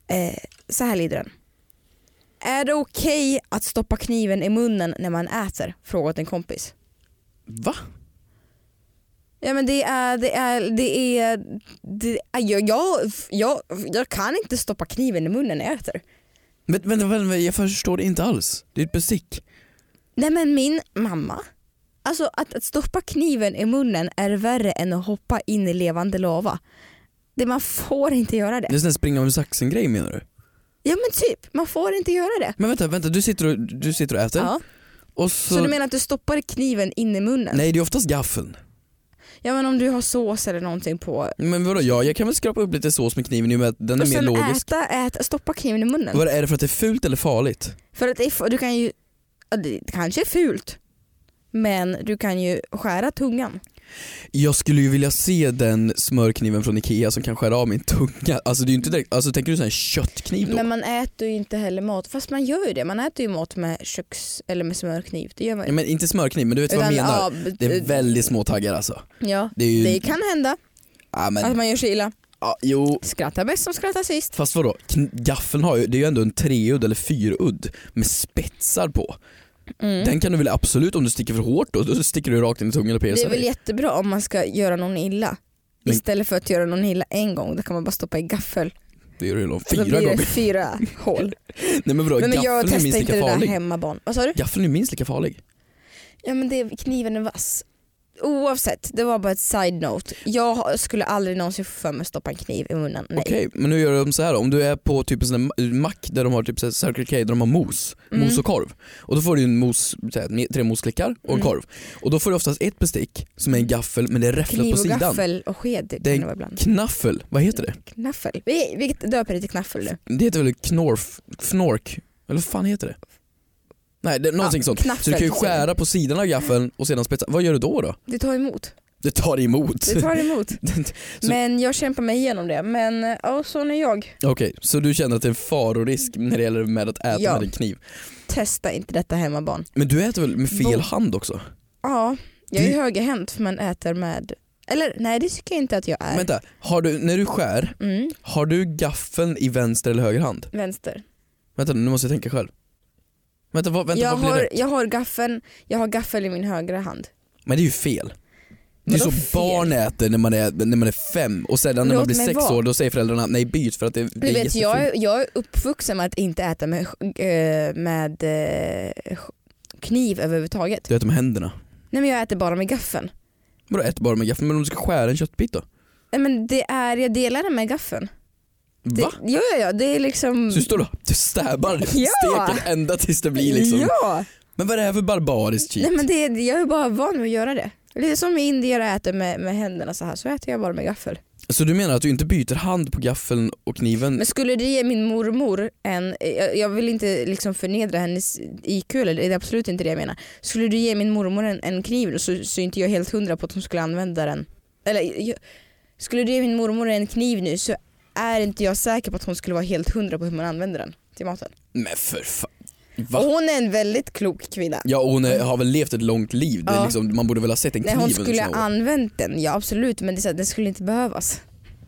[SPEAKER 3] Eh, så här lyder den. Är det okej att stoppa kniven i munnen när man äter? Frågat en kompis.
[SPEAKER 2] Va?
[SPEAKER 3] Ja men det är, det är, det är, det är jag, jag, jag, jag kan inte stoppa kniven i munnen när jag äter.
[SPEAKER 2] Vänta, vänta, vänta, jag förstår det inte alls. Det är ett bestick.
[SPEAKER 3] Nej men min mamma, alltså att, att stoppa kniven i munnen är värre än att hoppa in i levande lava. Det, man får inte göra
[SPEAKER 2] Det
[SPEAKER 3] det.
[SPEAKER 2] är en sån här springa med saxen grej menar du?
[SPEAKER 3] Ja men typ, man får inte göra det.
[SPEAKER 2] Men vänta, vänta, du sitter och, du sitter och äter
[SPEAKER 3] Ja.
[SPEAKER 2] och så...
[SPEAKER 3] Så, du menar att du stoppar kniven in i munnen?
[SPEAKER 2] Nej det är oftast gaffeln.
[SPEAKER 3] Ja men om du har sås eller någonting på.
[SPEAKER 2] Men vadå, ja, jag kan väl skrapa upp lite sås med kniven i och med att den är
[SPEAKER 3] och
[SPEAKER 2] mer
[SPEAKER 3] sen
[SPEAKER 2] logisk.
[SPEAKER 3] äta, äta, stoppa kniven i munnen.
[SPEAKER 2] Vad är det för att det är fult eller farligt?
[SPEAKER 3] För att if, du kan ju, ja, det kanske är fult. Men du kan ju skära tungan.
[SPEAKER 2] Jag skulle ju vilja se den smörkniven från Ikea som kan skära av min tunga. Alltså det är ju inte direkt, alltså tänker du sån här köttkniv då?
[SPEAKER 3] Men man äter ju inte heller mat, fast man gör ju det. Man äter ju mat med köks eller med smörkniv. Det gör man
[SPEAKER 2] Ja,
[SPEAKER 3] ju.
[SPEAKER 2] men inte smörkniv men du vet vad jag
[SPEAKER 3] Utan,
[SPEAKER 2] menar.
[SPEAKER 3] ja, b-
[SPEAKER 2] Det är väldigt små taggar alltså.
[SPEAKER 3] ja,
[SPEAKER 2] Det är ju...
[SPEAKER 3] det kan Alltså, hända
[SPEAKER 2] ja,
[SPEAKER 3] att
[SPEAKER 2] men,
[SPEAKER 3] man gör sig illa.
[SPEAKER 2] ja, jo.
[SPEAKER 3] Skratta bäst som skrattar sist.
[SPEAKER 2] Fast vadå, Kn- gaffeln har ju, det är ju ändå en treudd eller fyrudd med spetsar på.
[SPEAKER 3] Mm.
[SPEAKER 2] Den kan du väl absolut, om du sticker för hårt då, då sticker du rakt in i tungan och
[SPEAKER 3] Det
[SPEAKER 2] piercar
[SPEAKER 3] är väl
[SPEAKER 2] dig.
[SPEAKER 3] jättebra om man ska göra någon illa.
[SPEAKER 2] Men-
[SPEAKER 3] Istället för att göra någon illa en gång, då kan man bara stoppa i gaffel.
[SPEAKER 2] Det gör du ju
[SPEAKER 3] Då
[SPEAKER 2] fyra
[SPEAKER 3] blir
[SPEAKER 2] gånger.
[SPEAKER 3] Alltså, Det fyra hål.
[SPEAKER 2] Nej men vadå,
[SPEAKER 3] Nej, men
[SPEAKER 2] gaffeln
[SPEAKER 3] jag
[SPEAKER 2] är
[SPEAKER 3] testar
[SPEAKER 2] minst
[SPEAKER 3] inte
[SPEAKER 2] lika
[SPEAKER 3] det där
[SPEAKER 2] farlig.
[SPEAKER 3] hemma barn. Vad sa du?
[SPEAKER 2] Gaffeln är minst lika farlig.
[SPEAKER 3] Ja men det, kniven är vass. Oavsett, det var bara ett side-note. Jag har- skulle aldrig någonsin få för mig att stoppa en kniv i munnen. Nej.
[SPEAKER 2] Okej, men nu gör de så här då. Om du är på typ en sån där ma- mack där de har typ så här Circle K där de har mos,
[SPEAKER 3] Mm.
[SPEAKER 2] mos och korv. Och då får du en mos, så här, tre mosklickar och en
[SPEAKER 3] Mm.
[SPEAKER 2] korv. Och då får du oftast ett bestick som är en gaffel men det är räfflat
[SPEAKER 3] Kniv
[SPEAKER 2] på
[SPEAKER 3] och
[SPEAKER 2] sidan.
[SPEAKER 3] gaffel och sked det
[SPEAKER 2] Det är-
[SPEAKER 3] kan det vara ibland.
[SPEAKER 2] Knaffel, vad heter det?
[SPEAKER 3] Knaffel. Vi, vi döper det till knaffel nu.
[SPEAKER 2] Det heter väl knorf, fnork, eller vad fan heter det? Nej, det, någonting
[SPEAKER 3] Ja,
[SPEAKER 2] sånt.
[SPEAKER 3] knaffel,
[SPEAKER 2] Så du kan ju
[SPEAKER 3] typ så.
[SPEAKER 2] skära på sidan av gaffeln och sedan spetsa. Vad gör du då? då?
[SPEAKER 3] Det tar emot.
[SPEAKER 2] Det tar emot.
[SPEAKER 3] Det tar emot.
[SPEAKER 2] Så-
[SPEAKER 3] Men jag kämpar mig igenom det. Men eh, ja, sån är jag.
[SPEAKER 2] Okej, så du känner att det är en farorisk när det gäller med att äta
[SPEAKER 3] Ja.
[SPEAKER 2] med en kniv.
[SPEAKER 3] Testa inte detta hemma barn.
[SPEAKER 2] Men du äter väl med fel
[SPEAKER 3] Bo-
[SPEAKER 2] hand också?
[SPEAKER 3] Ja, jag är
[SPEAKER 2] Du-
[SPEAKER 3] högerhänt för man äter med... Eller nej det tycker jag inte att jag är.
[SPEAKER 2] Vänta, har du, när du skär,
[SPEAKER 3] Mm,
[SPEAKER 2] har du gaffeln i vänster eller höger hand?
[SPEAKER 3] vänster.
[SPEAKER 2] Vänta nu måste jag tänka själv. Vänta, vad, vänta,
[SPEAKER 3] jag,
[SPEAKER 2] vad blir
[SPEAKER 3] har,
[SPEAKER 2] det?
[SPEAKER 3] jag, har gaffeln, jag har gaffel i min högra hand.
[SPEAKER 2] Men det är ju fel. Det är
[SPEAKER 3] Vadå
[SPEAKER 2] så
[SPEAKER 3] fel?
[SPEAKER 2] barn äter när man är, när man är fem och sedan när man
[SPEAKER 3] Låt
[SPEAKER 2] blir
[SPEAKER 3] mig
[SPEAKER 2] sex
[SPEAKER 3] vara.
[SPEAKER 2] år då säger föräldrarna nej byt för att det, det
[SPEAKER 3] Du
[SPEAKER 2] är
[SPEAKER 3] vet, jag,
[SPEAKER 2] jättefult.
[SPEAKER 3] är- jag är uppvuxen med att inte äta med, eh, med eh, kniv överhuvudtaget.
[SPEAKER 2] Du äter med händerna.
[SPEAKER 3] Nej men jag äter bara med gaffeln.
[SPEAKER 2] Vadå äter bara med gaffeln? Men om du ska skära en köttbit då?
[SPEAKER 3] Nej men det är, jag delar det med gaffeln. Det,
[SPEAKER 2] Va?
[SPEAKER 3] Ja ja ja, det är liksom...
[SPEAKER 2] Så du står då, du stäbar
[SPEAKER 3] Ja.
[SPEAKER 2] steken ända tills det blir liksom.
[SPEAKER 3] Ja!
[SPEAKER 2] Men vad är det här för barbariskt
[SPEAKER 3] Nej
[SPEAKER 2] cheat?
[SPEAKER 3] men det, jag är bara van vid att göra det. Lite som indier äter med, med händerna så här så äter jag bara med gaffel.
[SPEAKER 2] Så du menar att du inte byter hand på gaffeln och kniven?
[SPEAKER 3] Men skulle det ge min mormor en, jag, jag vill inte liksom förnedra hennes IQ eller det är absolut inte det jag menar. Skulle du ge min mormor en, en kniv så, så är inte jag helt hundra på att hon skulle använda den. Eller jag, skulle du ge min mormor en kniv nu så är inte jag säker på att hon skulle vara helt hundra på hur man använder den till maten.
[SPEAKER 2] Men för fan. Va?
[SPEAKER 3] Och hon är en väldigt klok kvinna.
[SPEAKER 2] Ja och hon är, har väl levt ett långt liv, det är
[SPEAKER 3] Ja.
[SPEAKER 2] liksom, man borde väl ha sett en
[SPEAKER 3] Nej,
[SPEAKER 2] kniv
[SPEAKER 3] hon
[SPEAKER 2] under
[SPEAKER 3] skulle
[SPEAKER 2] sina
[SPEAKER 3] ha
[SPEAKER 2] år.
[SPEAKER 3] använt den, ja absolut men det, är så här, den skulle inte behövas.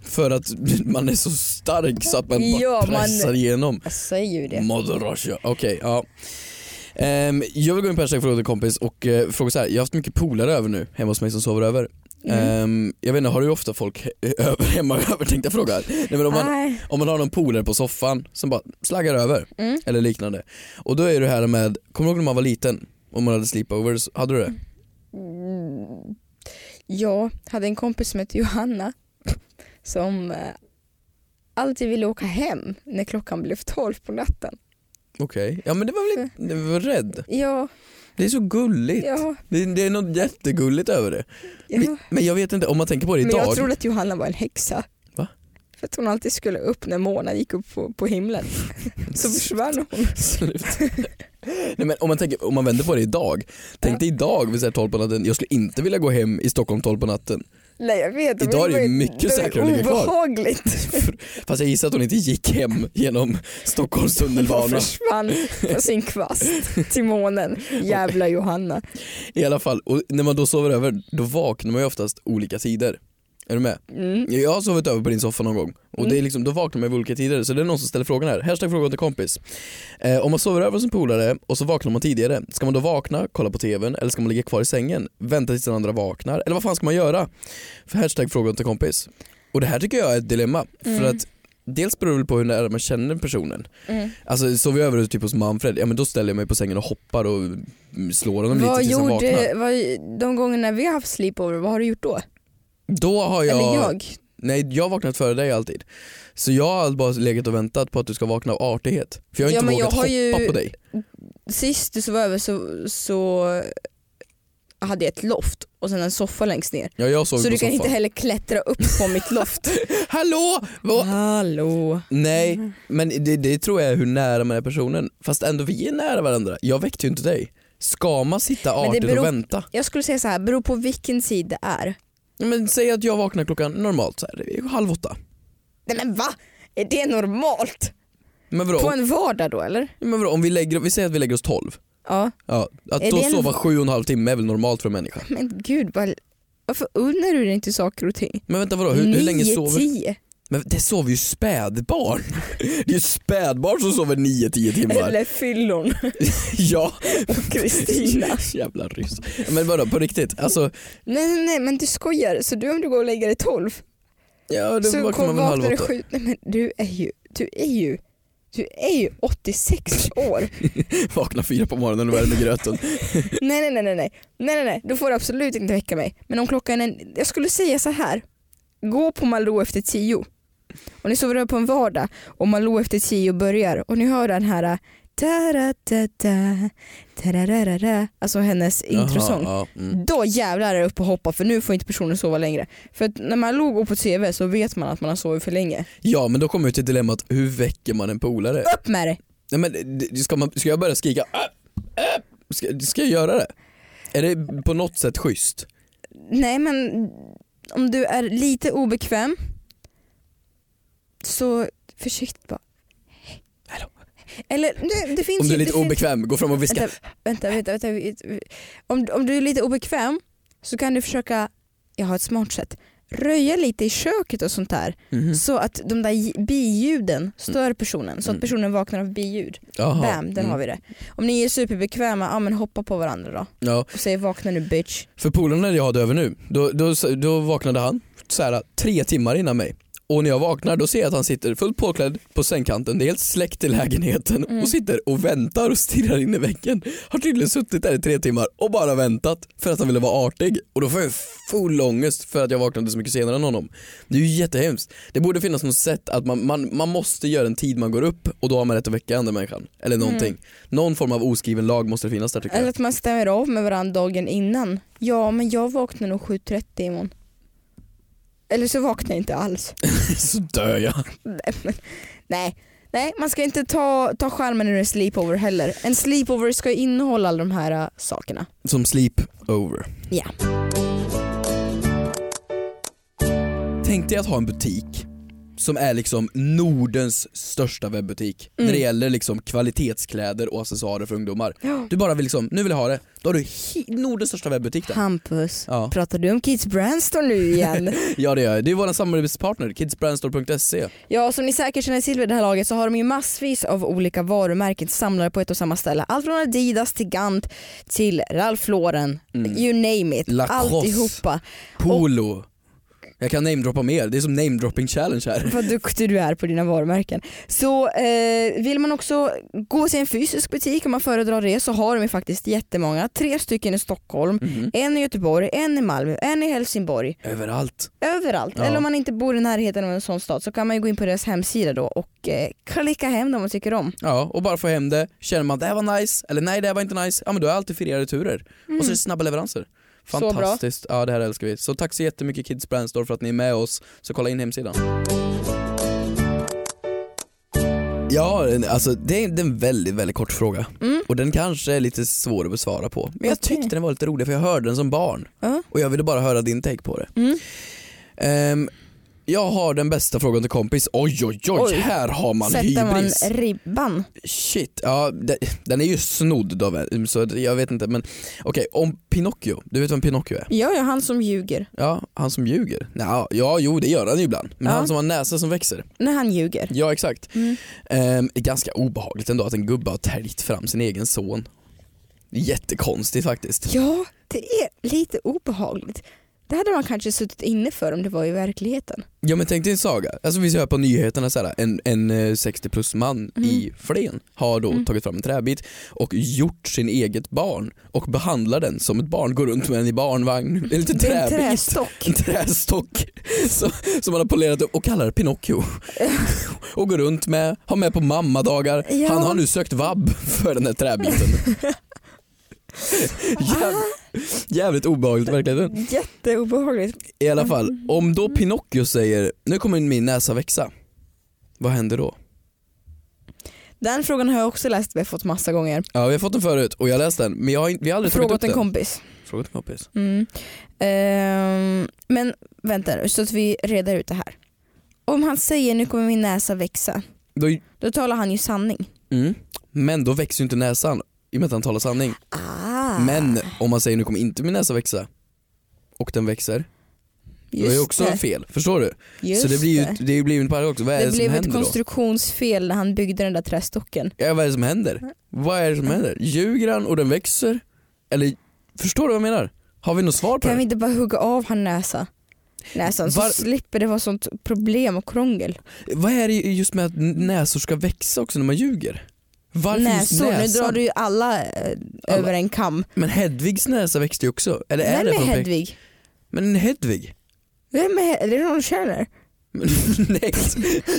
[SPEAKER 2] För att man är så stark så att man bara
[SPEAKER 3] Ja, man-
[SPEAKER 2] pressar igenom.
[SPEAKER 3] Jag säger ju det.
[SPEAKER 2] Mother Russia. Okej, ja. Ehm, jag vill gå in på hashtag fråga till kompis och eh, fråga så här. jag har haft mycket polare över nu hemma hos mig som sover över.
[SPEAKER 3] Mm.
[SPEAKER 2] Ehm, jag vet inte, har du ofta folk he- över hemma över tänkte jag fråga. Nej, men om, man,
[SPEAKER 3] Nej.
[SPEAKER 2] om man har någon polare på soffan som bara slaggar över
[SPEAKER 3] Mm.
[SPEAKER 2] eller liknande. Och då är det här med, kommer du ihåg när man var liten? Om man hade sleepovers, hade du det?
[SPEAKER 3] Mm. Jag hade en kompis som hette Johanna som eh, alltid ville åka hem när klockan blev tolv på natten.
[SPEAKER 2] Okej, ja men det var väl inte, du var rädd.
[SPEAKER 3] Ja,
[SPEAKER 2] Det är så gulligt.
[SPEAKER 3] ja,
[SPEAKER 2] Det, det är något jättegulligt över det.
[SPEAKER 3] ja.
[SPEAKER 2] Men, men jag vet inte, om man tänker på det
[SPEAKER 3] Men
[SPEAKER 2] idag.
[SPEAKER 3] jag trodde att Johanna var en häxa.
[SPEAKER 2] Va?
[SPEAKER 3] För att hon alltid skulle upp när månen gick upp på, på himlen. Så försvann hon.
[SPEAKER 2] Absolut. Nej, men om, man tänker, om man vänder på det idag. Tänk dig idag vid så här 12 på natten, jag skulle inte vilja gå hem i Stockholm 12 på natten.
[SPEAKER 3] Nej jag vet.
[SPEAKER 2] Idag är det ju mycket säkrare att ligga kvar.
[SPEAKER 3] Obehagligt.
[SPEAKER 2] Fast jag gissar att hon inte gick hem genom Stockholms
[SPEAKER 3] Hon bara
[SPEAKER 2] tunnelbana.
[SPEAKER 3] försvann på sin kvast till månen. Jävla Johanna.
[SPEAKER 2] I alla fall, och när man då sover över då vaknar man ju oftast olika tider. Är du med?
[SPEAKER 3] Mm.
[SPEAKER 2] Jag har sovit över på din soffa någon gång och det är liksom, då vaknar man vid olika tider så det är någon som ställer frågan här. Hashtag fråga till kompis. Eh, om man sover över hos en polare och så vaknar man tidigare, ska man då vakna, kolla på tvn eller ska man ligga kvar i sängen, vänta tills den andra vaknar eller vad fan ska man göra? För hashtag fråga till kompis. Och det här tycker jag är ett dilemma för att dels beror det väl på hur nära man känner personen.
[SPEAKER 3] Mm.
[SPEAKER 2] Alltså sover jag över typ hos Manfred, ja men då ställer jag mig på sängen och hoppar och mm, slår honom
[SPEAKER 3] Vad
[SPEAKER 2] lite tills han vaknar.
[SPEAKER 3] gjorde, vad, de gångerna vi har haft sleepover, vad har du gjort då?
[SPEAKER 2] Då har
[SPEAKER 3] Eller jag?
[SPEAKER 2] Nej, jag har vaknat före dig alltid. Så jag har bara legat och väntat på att du ska vakna av artighet. För jag har
[SPEAKER 3] Ja,
[SPEAKER 2] inte
[SPEAKER 3] men
[SPEAKER 2] vågat
[SPEAKER 3] jag har
[SPEAKER 2] hoppa
[SPEAKER 3] ju-
[SPEAKER 2] på dig.
[SPEAKER 3] Sist du sov över så, så hade jag ett loft och sen en soffa längst ner.
[SPEAKER 2] Ja, jag sov
[SPEAKER 3] Så
[SPEAKER 2] på
[SPEAKER 3] du kan
[SPEAKER 2] soffan.
[SPEAKER 3] inte heller klättra upp på mitt loft.
[SPEAKER 2] Hallå! Vad-
[SPEAKER 3] Hallå.
[SPEAKER 2] Nej, men det, det tror jag är hur nära man är personen. Fast ändå, vi är nära varandra. Jag väckte ju inte dig. Ska man sitta
[SPEAKER 3] Men det
[SPEAKER 2] artigt
[SPEAKER 3] beror-
[SPEAKER 2] och vänta?
[SPEAKER 3] Jag skulle säga så här, beror på vilken tid det är.
[SPEAKER 2] Ja, Men säg att jag vaknar klockan normalt, så här, halv åtta.
[SPEAKER 3] Nej men va? Är det normalt?
[SPEAKER 2] Men vadå,
[SPEAKER 3] På en vardag då eller?
[SPEAKER 2] men vadå om vi, lägger, vi säger att vi lägger oss tolv.
[SPEAKER 3] Ja.
[SPEAKER 2] Ja, att
[SPEAKER 3] Är
[SPEAKER 2] då
[SPEAKER 3] det en-
[SPEAKER 2] sova sju och en halv timme är väl normalt för en människa.
[SPEAKER 3] Men gud, vad, varför unnar du dig inte saker och ting?
[SPEAKER 2] Men vänta vadå, hur, hur länge
[SPEAKER 3] Nio,
[SPEAKER 2] sover
[SPEAKER 3] tio.
[SPEAKER 2] Men det sover ju spädbarn. Det är ju spädbarn som sover 9-10 timmar.
[SPEAKER 3] Eller fyllon.
[SPEAKER 2] Ja,
[SPEAKER 3] Kristina.
[SPEAKER 2] jävla ryss. Men vadå på riktigt? Alltså,
[SPEAKER 3] Nej, nej, nej, men du skojar. Så du om du går och lägger dig tolv
[SPEAKER 2] ja, det
[SPEAKER 3] så
[SPEAKER 2] vaknar man
[SPEAKER 3] kom,
[SPEAKER 2] väl halv
[SPEAKER 3] vaknar du
[SPEAKER 2] åtta.
[SPEAKER 3] sju. Nej men du är ju, du är ju, du är ju 86 år.
[SPEAKER 2] Vaknar fyra på morgonen och värmer gröten.
[SPEAKER 3] nej, nej, nej, nej, nej, nej, nej, nej, då får du absolut inte väcka mig. Men om klockan är, jag skulle säga så här. Gå på Malou efter tio. Och ni sover över på en vardag och Malou efter tio börjar och ni hör den här äh, ta-ra-ta-ta, ta-ra-ra-ra-ra, alltså hennes introsång.
[SPEAKER 2] Jaha, ja, mm.
[SPEAKER 3] Då jävlar är det upp och hoppa för nu får inte personen sova längre. För att när man låg och på tv så vet man att man har sovit för länge.
[SPEAKER 2] ja men då kommer vi till dilemmat, hur väcker man en polare?
[SPEAKER 3] Upp med dig!
[SPEAKER 2] Nej, men, det- ska, man, ska jag börja skrika "Äh, äh", ska, ska jag göra det? Är det på något sätt schysst?
[SPEAKER 3] Nej men om du är lite obekväm så försiktigt bara.
[SPEAKER 2] Hallå.
[SPEAKER 3] Eller nej, det finns
[SPEAKER 2] Om du är
[SPEAKER 3] ju-
[SPEAKER 2] lite
[SPEAKER 3] det finns-
[SPEAKER 2] obekväm, gå fram och viska.
[SPEAKER 3] Vänta, vänta, vänta, vänta, vänta. Om, om du är lite obekväm så kan du försöka, jag har ett smart sätt, röja lite i köket och sånt där
[SPEAKER 2] Mhm.
[SPEAKER 3] så att de där j- biljuden stör personen så att
[SPEAKER 2] Mm.
[SPEAKER 3] personen vaknar av biljud.
[SPEAKER 2] Jaha,
[SPEAKER 3] Bam, där
[SPEAKER 2] mm.
[SPEAKER 3] har vi det. Om ni är superbekväma, ja men hoppa på varandra då
[SPEAKER 2] Ja.
[SPEAKER 3] och säg vakna nu bitch.
[SPEAKER 2] För polarna jag hade över nu, då, då, då vaknade han så här, tre timmar innan mig. Och när jag vaknar då ser jag att han sitter fullt påklädd på sängkanten, det är helt släckt i lägenheten och sitter och väntar och stirrar in i väggen. Har tydligen suttit där i tre timmar och bara väntat för att han ville vara artig. Och då får jag full ångest för att jag vaknade så mycket senare än honom. Det är ju jättehemskt. Det borde finnas något sätt att man, man, man måste göra en tid man går upp och då har man rätt att väcka andra människan. Eller någonting. Någon form av oskriven lag måste det finnas där tycker
[SPEAKER 3] Eller
[SPEAKER 2] jag.
[SPEAKER 3] att man stämmer av med varandra dagen innan. Ja men jag vaknar nog 7.30 imorgon. Eller så vaknar jag inte alls.
[SPEAKER 2] så dör jag.
[SPEAKER 3] Nej, men- Nej. Nej, man ska inte ta, ta skärmen ur en sleepover heller. En sleepover ska ju innehålla alla de här äh, sakerna.
[SPEAKER 2] Som sleep over.
[SPEAKER 3] Ja.
[SPEAKER 2] Tänk dig att ha en butik som är liksom Nordens största webbutik
[SPEAKER 3] Mm.
[SPEAKER 2] när det gäller liksom kvalitetskläder och accessoarer för ungdomar.
[SPEAKER 3] Ja.
[SPEAKER 2] Du bara vill liksom, nu vill jag ha det. Då har du he- Nordens största webbutik där.
[SPEAKER 3] Hampus,
[SPEAKER 2] Ja.
[SPEAKER 3] pratar du om Kids Brandstore nu igen?
[SPEAKER 2] ja det gör jag. Det är vår samarbetspartner, kidsbrandstore.se.
[SPEAKER 3] ja, som ni säkert känner till vid det här laget så har de ju massvis av olika varumärken samlade på ett och samma ställe. Allt från Adidas till Gant till Ralph Lauren, you name it.
[SPEAKER 2] Mm. Lacoste.
[SPEAKER 3] Alltihopa.
[SPEAKER 2] Polo. Jag kan namedroppa mer, det är som namedropping challenge här.
[SPEAKER 3] Vad duktig du är på dina varumärken. Så eh, vill man också gå till en fysisk butik om man föredrar det så har de ju faktiskt jättemånga. Tre stycken i Stockholm,
[SPEAKER 2] Mhm.
[SPEAKER 3] en i Göteborg, en i Malmö, en i Helsingborg.
[SPEAKER 2] Överallt.
[SPEAKER 3] Överallt.
[SPEAKER 2] Ja.
[SPEAKER 3] Eller om man inte bor i närheten av en sån stad så kan man ju gå in på deras hemsida då och eh, klicka hem dem man tycker om.
[SPEAKER 2] Ja, och bara få hem det. Känner man det här var nice, eller nej det här var inte nice, ja men då är alltid fyra returer. Och så är det snabba leveranser.
[SPEAKER 3] Mm. Så bra.
[SPEAKER 2] Fantastiskt, ja det här älskar vi. Så tack så jättemycket Kids Brandstore för att ni är med oss, så kolla in hemsidan. Ja, en- alltså det är det är en väldigt, väldigt kort fråga. Och den kanske är lite svår att besvara på. Men jag
[SPEAKER 3] Mm. Okej.
[SPEAKER 2] tyckte den var lite rolig för jag hörde den som barn.
[SPEAKER 3] Ja.
[SPEAKER 2] Och jag ville bara höra din take på det.
[SPEAKER 3] Mm.
[SPEAKER 2] Ehm, Jag har den bästa frågan till kompis. Oj oj oj,
[SPEAKER 3] Oj.
[SPEAKER 2] här har man
[SPEAKER 3] Sätter man
[SPEAKER 2] hybris.
[SPEAKER 3] ribban?
[SPEAKER 2] Shit, ja, de- den är ju snodd då, väl, så jag vet inte men okej om Pinocchio, du vet vem Pinocchio är?
[SPEAKER 3] Ja, ja, han som ljuger.
[SPEAKER 2] Ja, han som ljuger. Ja, ja jo det gör han ju ibland. Men
[SPEAKER 3] Ja.
[SPEAKER 2] han som har en näsa som växer.
[SPEAKER 3] När han ljuger.
[SPEAKER 2] Ja exakt. Ehm, ganska obehagligt ändå att en gubbe har täljt fram sin egen son. Jättekonstigt faktiskt.
[SPEAKER 3] Ja, det är lite obehagligt. Det hade man kanske suttit inne för om det var i verkligheten.
[SPEAKER 2] Ja men tänk dig en saga. Alltså vi ser på nyheterna så här, en, en eh, 60 plus man
[SPEAKER 3] Mhm.
[SPEAKER 2] i Flen har då
[SPEAKER 3] Mm.
[SPEAKER 2] tagit fram en träbit och gjort sin eget barn och behandlar den som ett barn, går runt med den i barnvagn. En liten
[SPEAKER 3] Det är en
[SPEAKER 2] träbit.
[SPEAKER 3] trästock.
[SPEAKER 2] en trästock som, som man har polerat upp och kallar Pinocchio. och går runt med, har med på mammadagar.
[SPEAKER 3] Ja.
[SPEAKER 2] Han har nu sökt vab för den här träbiten. Jäv, jävligt obehagligt verkligen.
[SPEAKER 3] Jätteobehagligt.
[SPEAKER 2] I alla fall,
[SPEAKER 3] Mm.
[SPEAKER 2] om då Pinocchio säger nu kommer min näsa växa. Vad händer då?
[SPEAKER 3] Den frågan har jag också läst och fått massa gånger.
[SPEAKER 2] Ja vi har fått den förut och jag läste den men jag har, in- vi har aldrig tagit upp
[SPEAKER 3] Frågat en
[SPEAKER 2] den.
[SPEAKER 3] kompis.
[SPEAKER 2] Frågat en kompis.
[SPEAKER 3] Mm. Ehm, men vänta nu, så att vi reder ut det här. Om han säger nu kommer min näsa växa,
[SPEAKER 2] Då,
[SPEAKER 3] då talar han ju sanning.
[SPEAKER 2] mm. Men då växer ju inte näsan i och med att han talar sanning.
[SPEAKER 3] Ah,
[SPEAKER 2] Men om man säger nu kommer inte min näsa växa och den växer, då är det också fel. Förstår du?
[SPEAKER 3] Just
[SPEAKER 2] så det blir ju
[SPEAKER 3] det.
[SPEAKER 2] det blir ju en paradox. Vad är det,
[SPEAKER 3] Det
[SPEAKER 2] som
[SPEAKER 3] blev
[SPEAKER 2] händer
[SPEAKER 3] ett
[SPEAKER 2] då?
[SPEAKER 3] konstruktionsfel när han byggde den där trästocken.
[SPEAKER 2] Ja, vad är det som
[SPEAKER 3] Mm.
[SPEAKER 2] händer? Vad är det som händer? Ljuger han och den växer? Eller förstår du vad jag menar? Har vi något svar på
[SPEAKER 3] Kan
[SPEAKER 2] det?
[SPEAKER 3] vi inte bara hugga av han näsa? näsan så
[SPEAKER 2] Var-
[SPEAKER 3] slipper det vara sånt problem och krångel.
[SPEAKER 2] Vad är det just med att näsor ska växa också när man ljuger? Varför just
[SPEAKER 3] Näsor, nu
[SPEAKER 2] näsan?
[SPEAKER 3] drar du ju alla, eh,
[SPEAKER 2] Alla.
[SPEAKER 3] över en kam.
[SPEAKER 2] Men Hedvigs näsa växte ju också. Eller är
[SPEAKER 3] Vem
[SPEAKER 2] det
[SPEAKER 3] är
[SPEAKER 2] från Pek-
[SPEAKER 3] Hedvig?
[SPEAKER 2] Men Hedvig?
[SPEAKER 3] Vem är, är det någon du känner?
[SPEAKER 2] Men- Nej.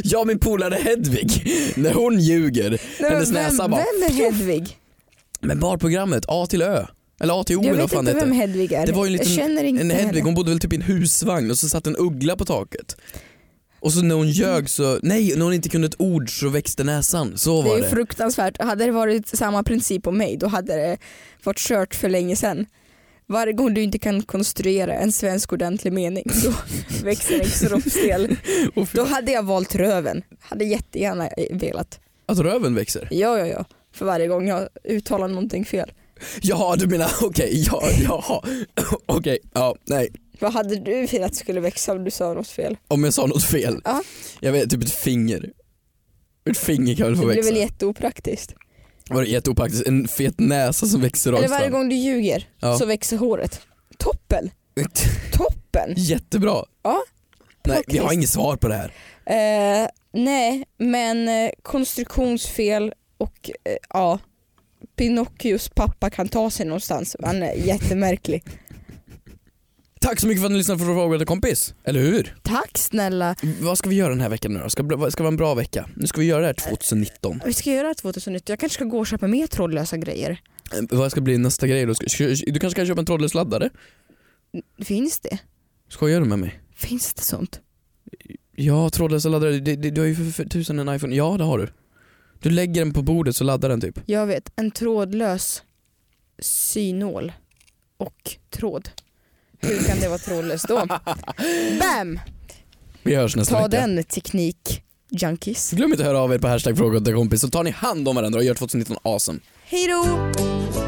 [SPEAKER 2] Jag min polare Hedvig, när hon ljuger,
[SPEAKER 3] Nej,
[SPEAKER 2] hennes
[SPEAKER 3] men
[SPEAKER 2] näsa
[SPEAKER 3] vem,
[SPEAKER 2] bara
[SPEAKER 3] vem är Hedvig?
[SPEAKER 2] Men barprogrammet, A till Ö. Eller A till O
[SPEAKER 3] Jag
[SPEAKER 2] eller vad
[SPEAKER 3] vet
[SPEAKER 2] fan
[SPEAKER 3] inte
[SPEAKER 2] det
[SPEAKER 3] vem
[SPEAKER 2] hette.
[SPEAKER 3] Hedvig är.
[SPEAKER 2] Det var ju en
[SPEAKER 3] jag
[SPEAKER 2] liten-
[SPEAKER 3] känner inte
[SPEAKER 2] En Hedvig,
[SPEAKER 3] henne.
[SPEAKER 2] hon bodde väl typ i en husvagn och så satt en uggla på taket. Och så när hon ljög så, nej när hon inte kunde ett ord så växte näsan. Så
[SPEAKER 3] Det är
[SPEAKER 2] var
[SPEAKER 3] ju
[SPEAKER 2] det.
[SPEAKER 3] fruktansvärt. Hade det varit samma princip på mig då hade det varit kört för länge sedan. Varje gång du inte kan konstruera en svensk ordentlig mening så växer en kroppsdel.
[SPEAKER 2] Och fy-
[SPEAKER 3] Då hade jag valt röven. Hade jättegärna velat.
[SPEAKER 2] Att röven växer.
[SPEAKER 3] Ja, ja, ja. För varje gång jag uttalar någonting fel.
[SPEAKER 2] Jaha du menar, okej, ja, jaha. okej, ja, nej.
[SPEAKER 3] Vad hade du velat skulle växa om du sa något fel?
[SPEAKER 2] Om jag sa något fel.
[SPEAKER 3] Ja.
[SPEAKER 2] Jag vet, typ ett finger. Ett finger kan väl
[SPEAKER 3] Det
[SPEAKER 2] få
[SPEAKER 3] blir
[SPEAKER 2] växa.
[SPEAKER 3] väl jätteopraktiskt.
[SPEAKER 2] Var det jätteopraktiskt? En fet näsa som växer
[SPEAKER 3] Eller
[SPEAKER 2] rakt
[SPEAKER 3] varje
[SPEAKER 2] fram.
[SPEAKER 3] gång du ljuger
[SPEAKER 2] Ja.
[SPEAKER 3] så växer håret. Toppen! Toppen!
[SPEAKER 2] Jättebra.
[SPEAKER 3] Ja,
[SPEAKER 2] Nej, vi har
[SPEAKER 3] praktiskt.
[SPEAKER 2] inget svar på det här.
[SPEAKER 3] Eh, nej, men eh, konstruktionsfel och eh, ja, Pinocchios pappa kan ta sig någonstans. Han är jättemärklig.
[SPEAKER 2] Tack så mycket för att ni lyssnade på Fråga till kompis. Eller hur?
[SPEAKER 3] Tack snälla.
[SPEAKER 2] Vad ska vi göra den här veckan nu då? Ska, bli- ska vara en bra vecka. Nu ska vi göra det här 2019.
[SPEAKER 3] Vi ska göra 2019. Jag kanske ska gå och köpa mer trådlösa grejer.
[SPEAKER 2] Eh, Vad ska bli nästa grej då? Ska- Du kanske kan köpa en trådlös laddare?
[SPEAKER 3] Finns det?
[SPEAKER 2] Skojar du med mig?
[SPEAKER 3] Finns det sånt?
[SPEAKER 2] Ja, trådlösa laddare. Du, du, du har ju för, för tusen en iPhone. Ja, det har du. Du lägger den på bordet så laddar den typ.
[SPEAKER 3] Jag vet, en trådlös synål och tråd. Hur kan det vara trådlöst då? Bam!
[SPEAKER 2] Vi hörs nästa
[SPEAKER 3] Ta
[SPEAKER 2] vecka.
[SPEAKER 3] den teknik junkies.
[SPEAKER 2] Glöm inte att höra av er på hashtag fråga till kompis så tar ni hand om varandra och gör 2019 awesome.
[SPEAKER 3] Hej då!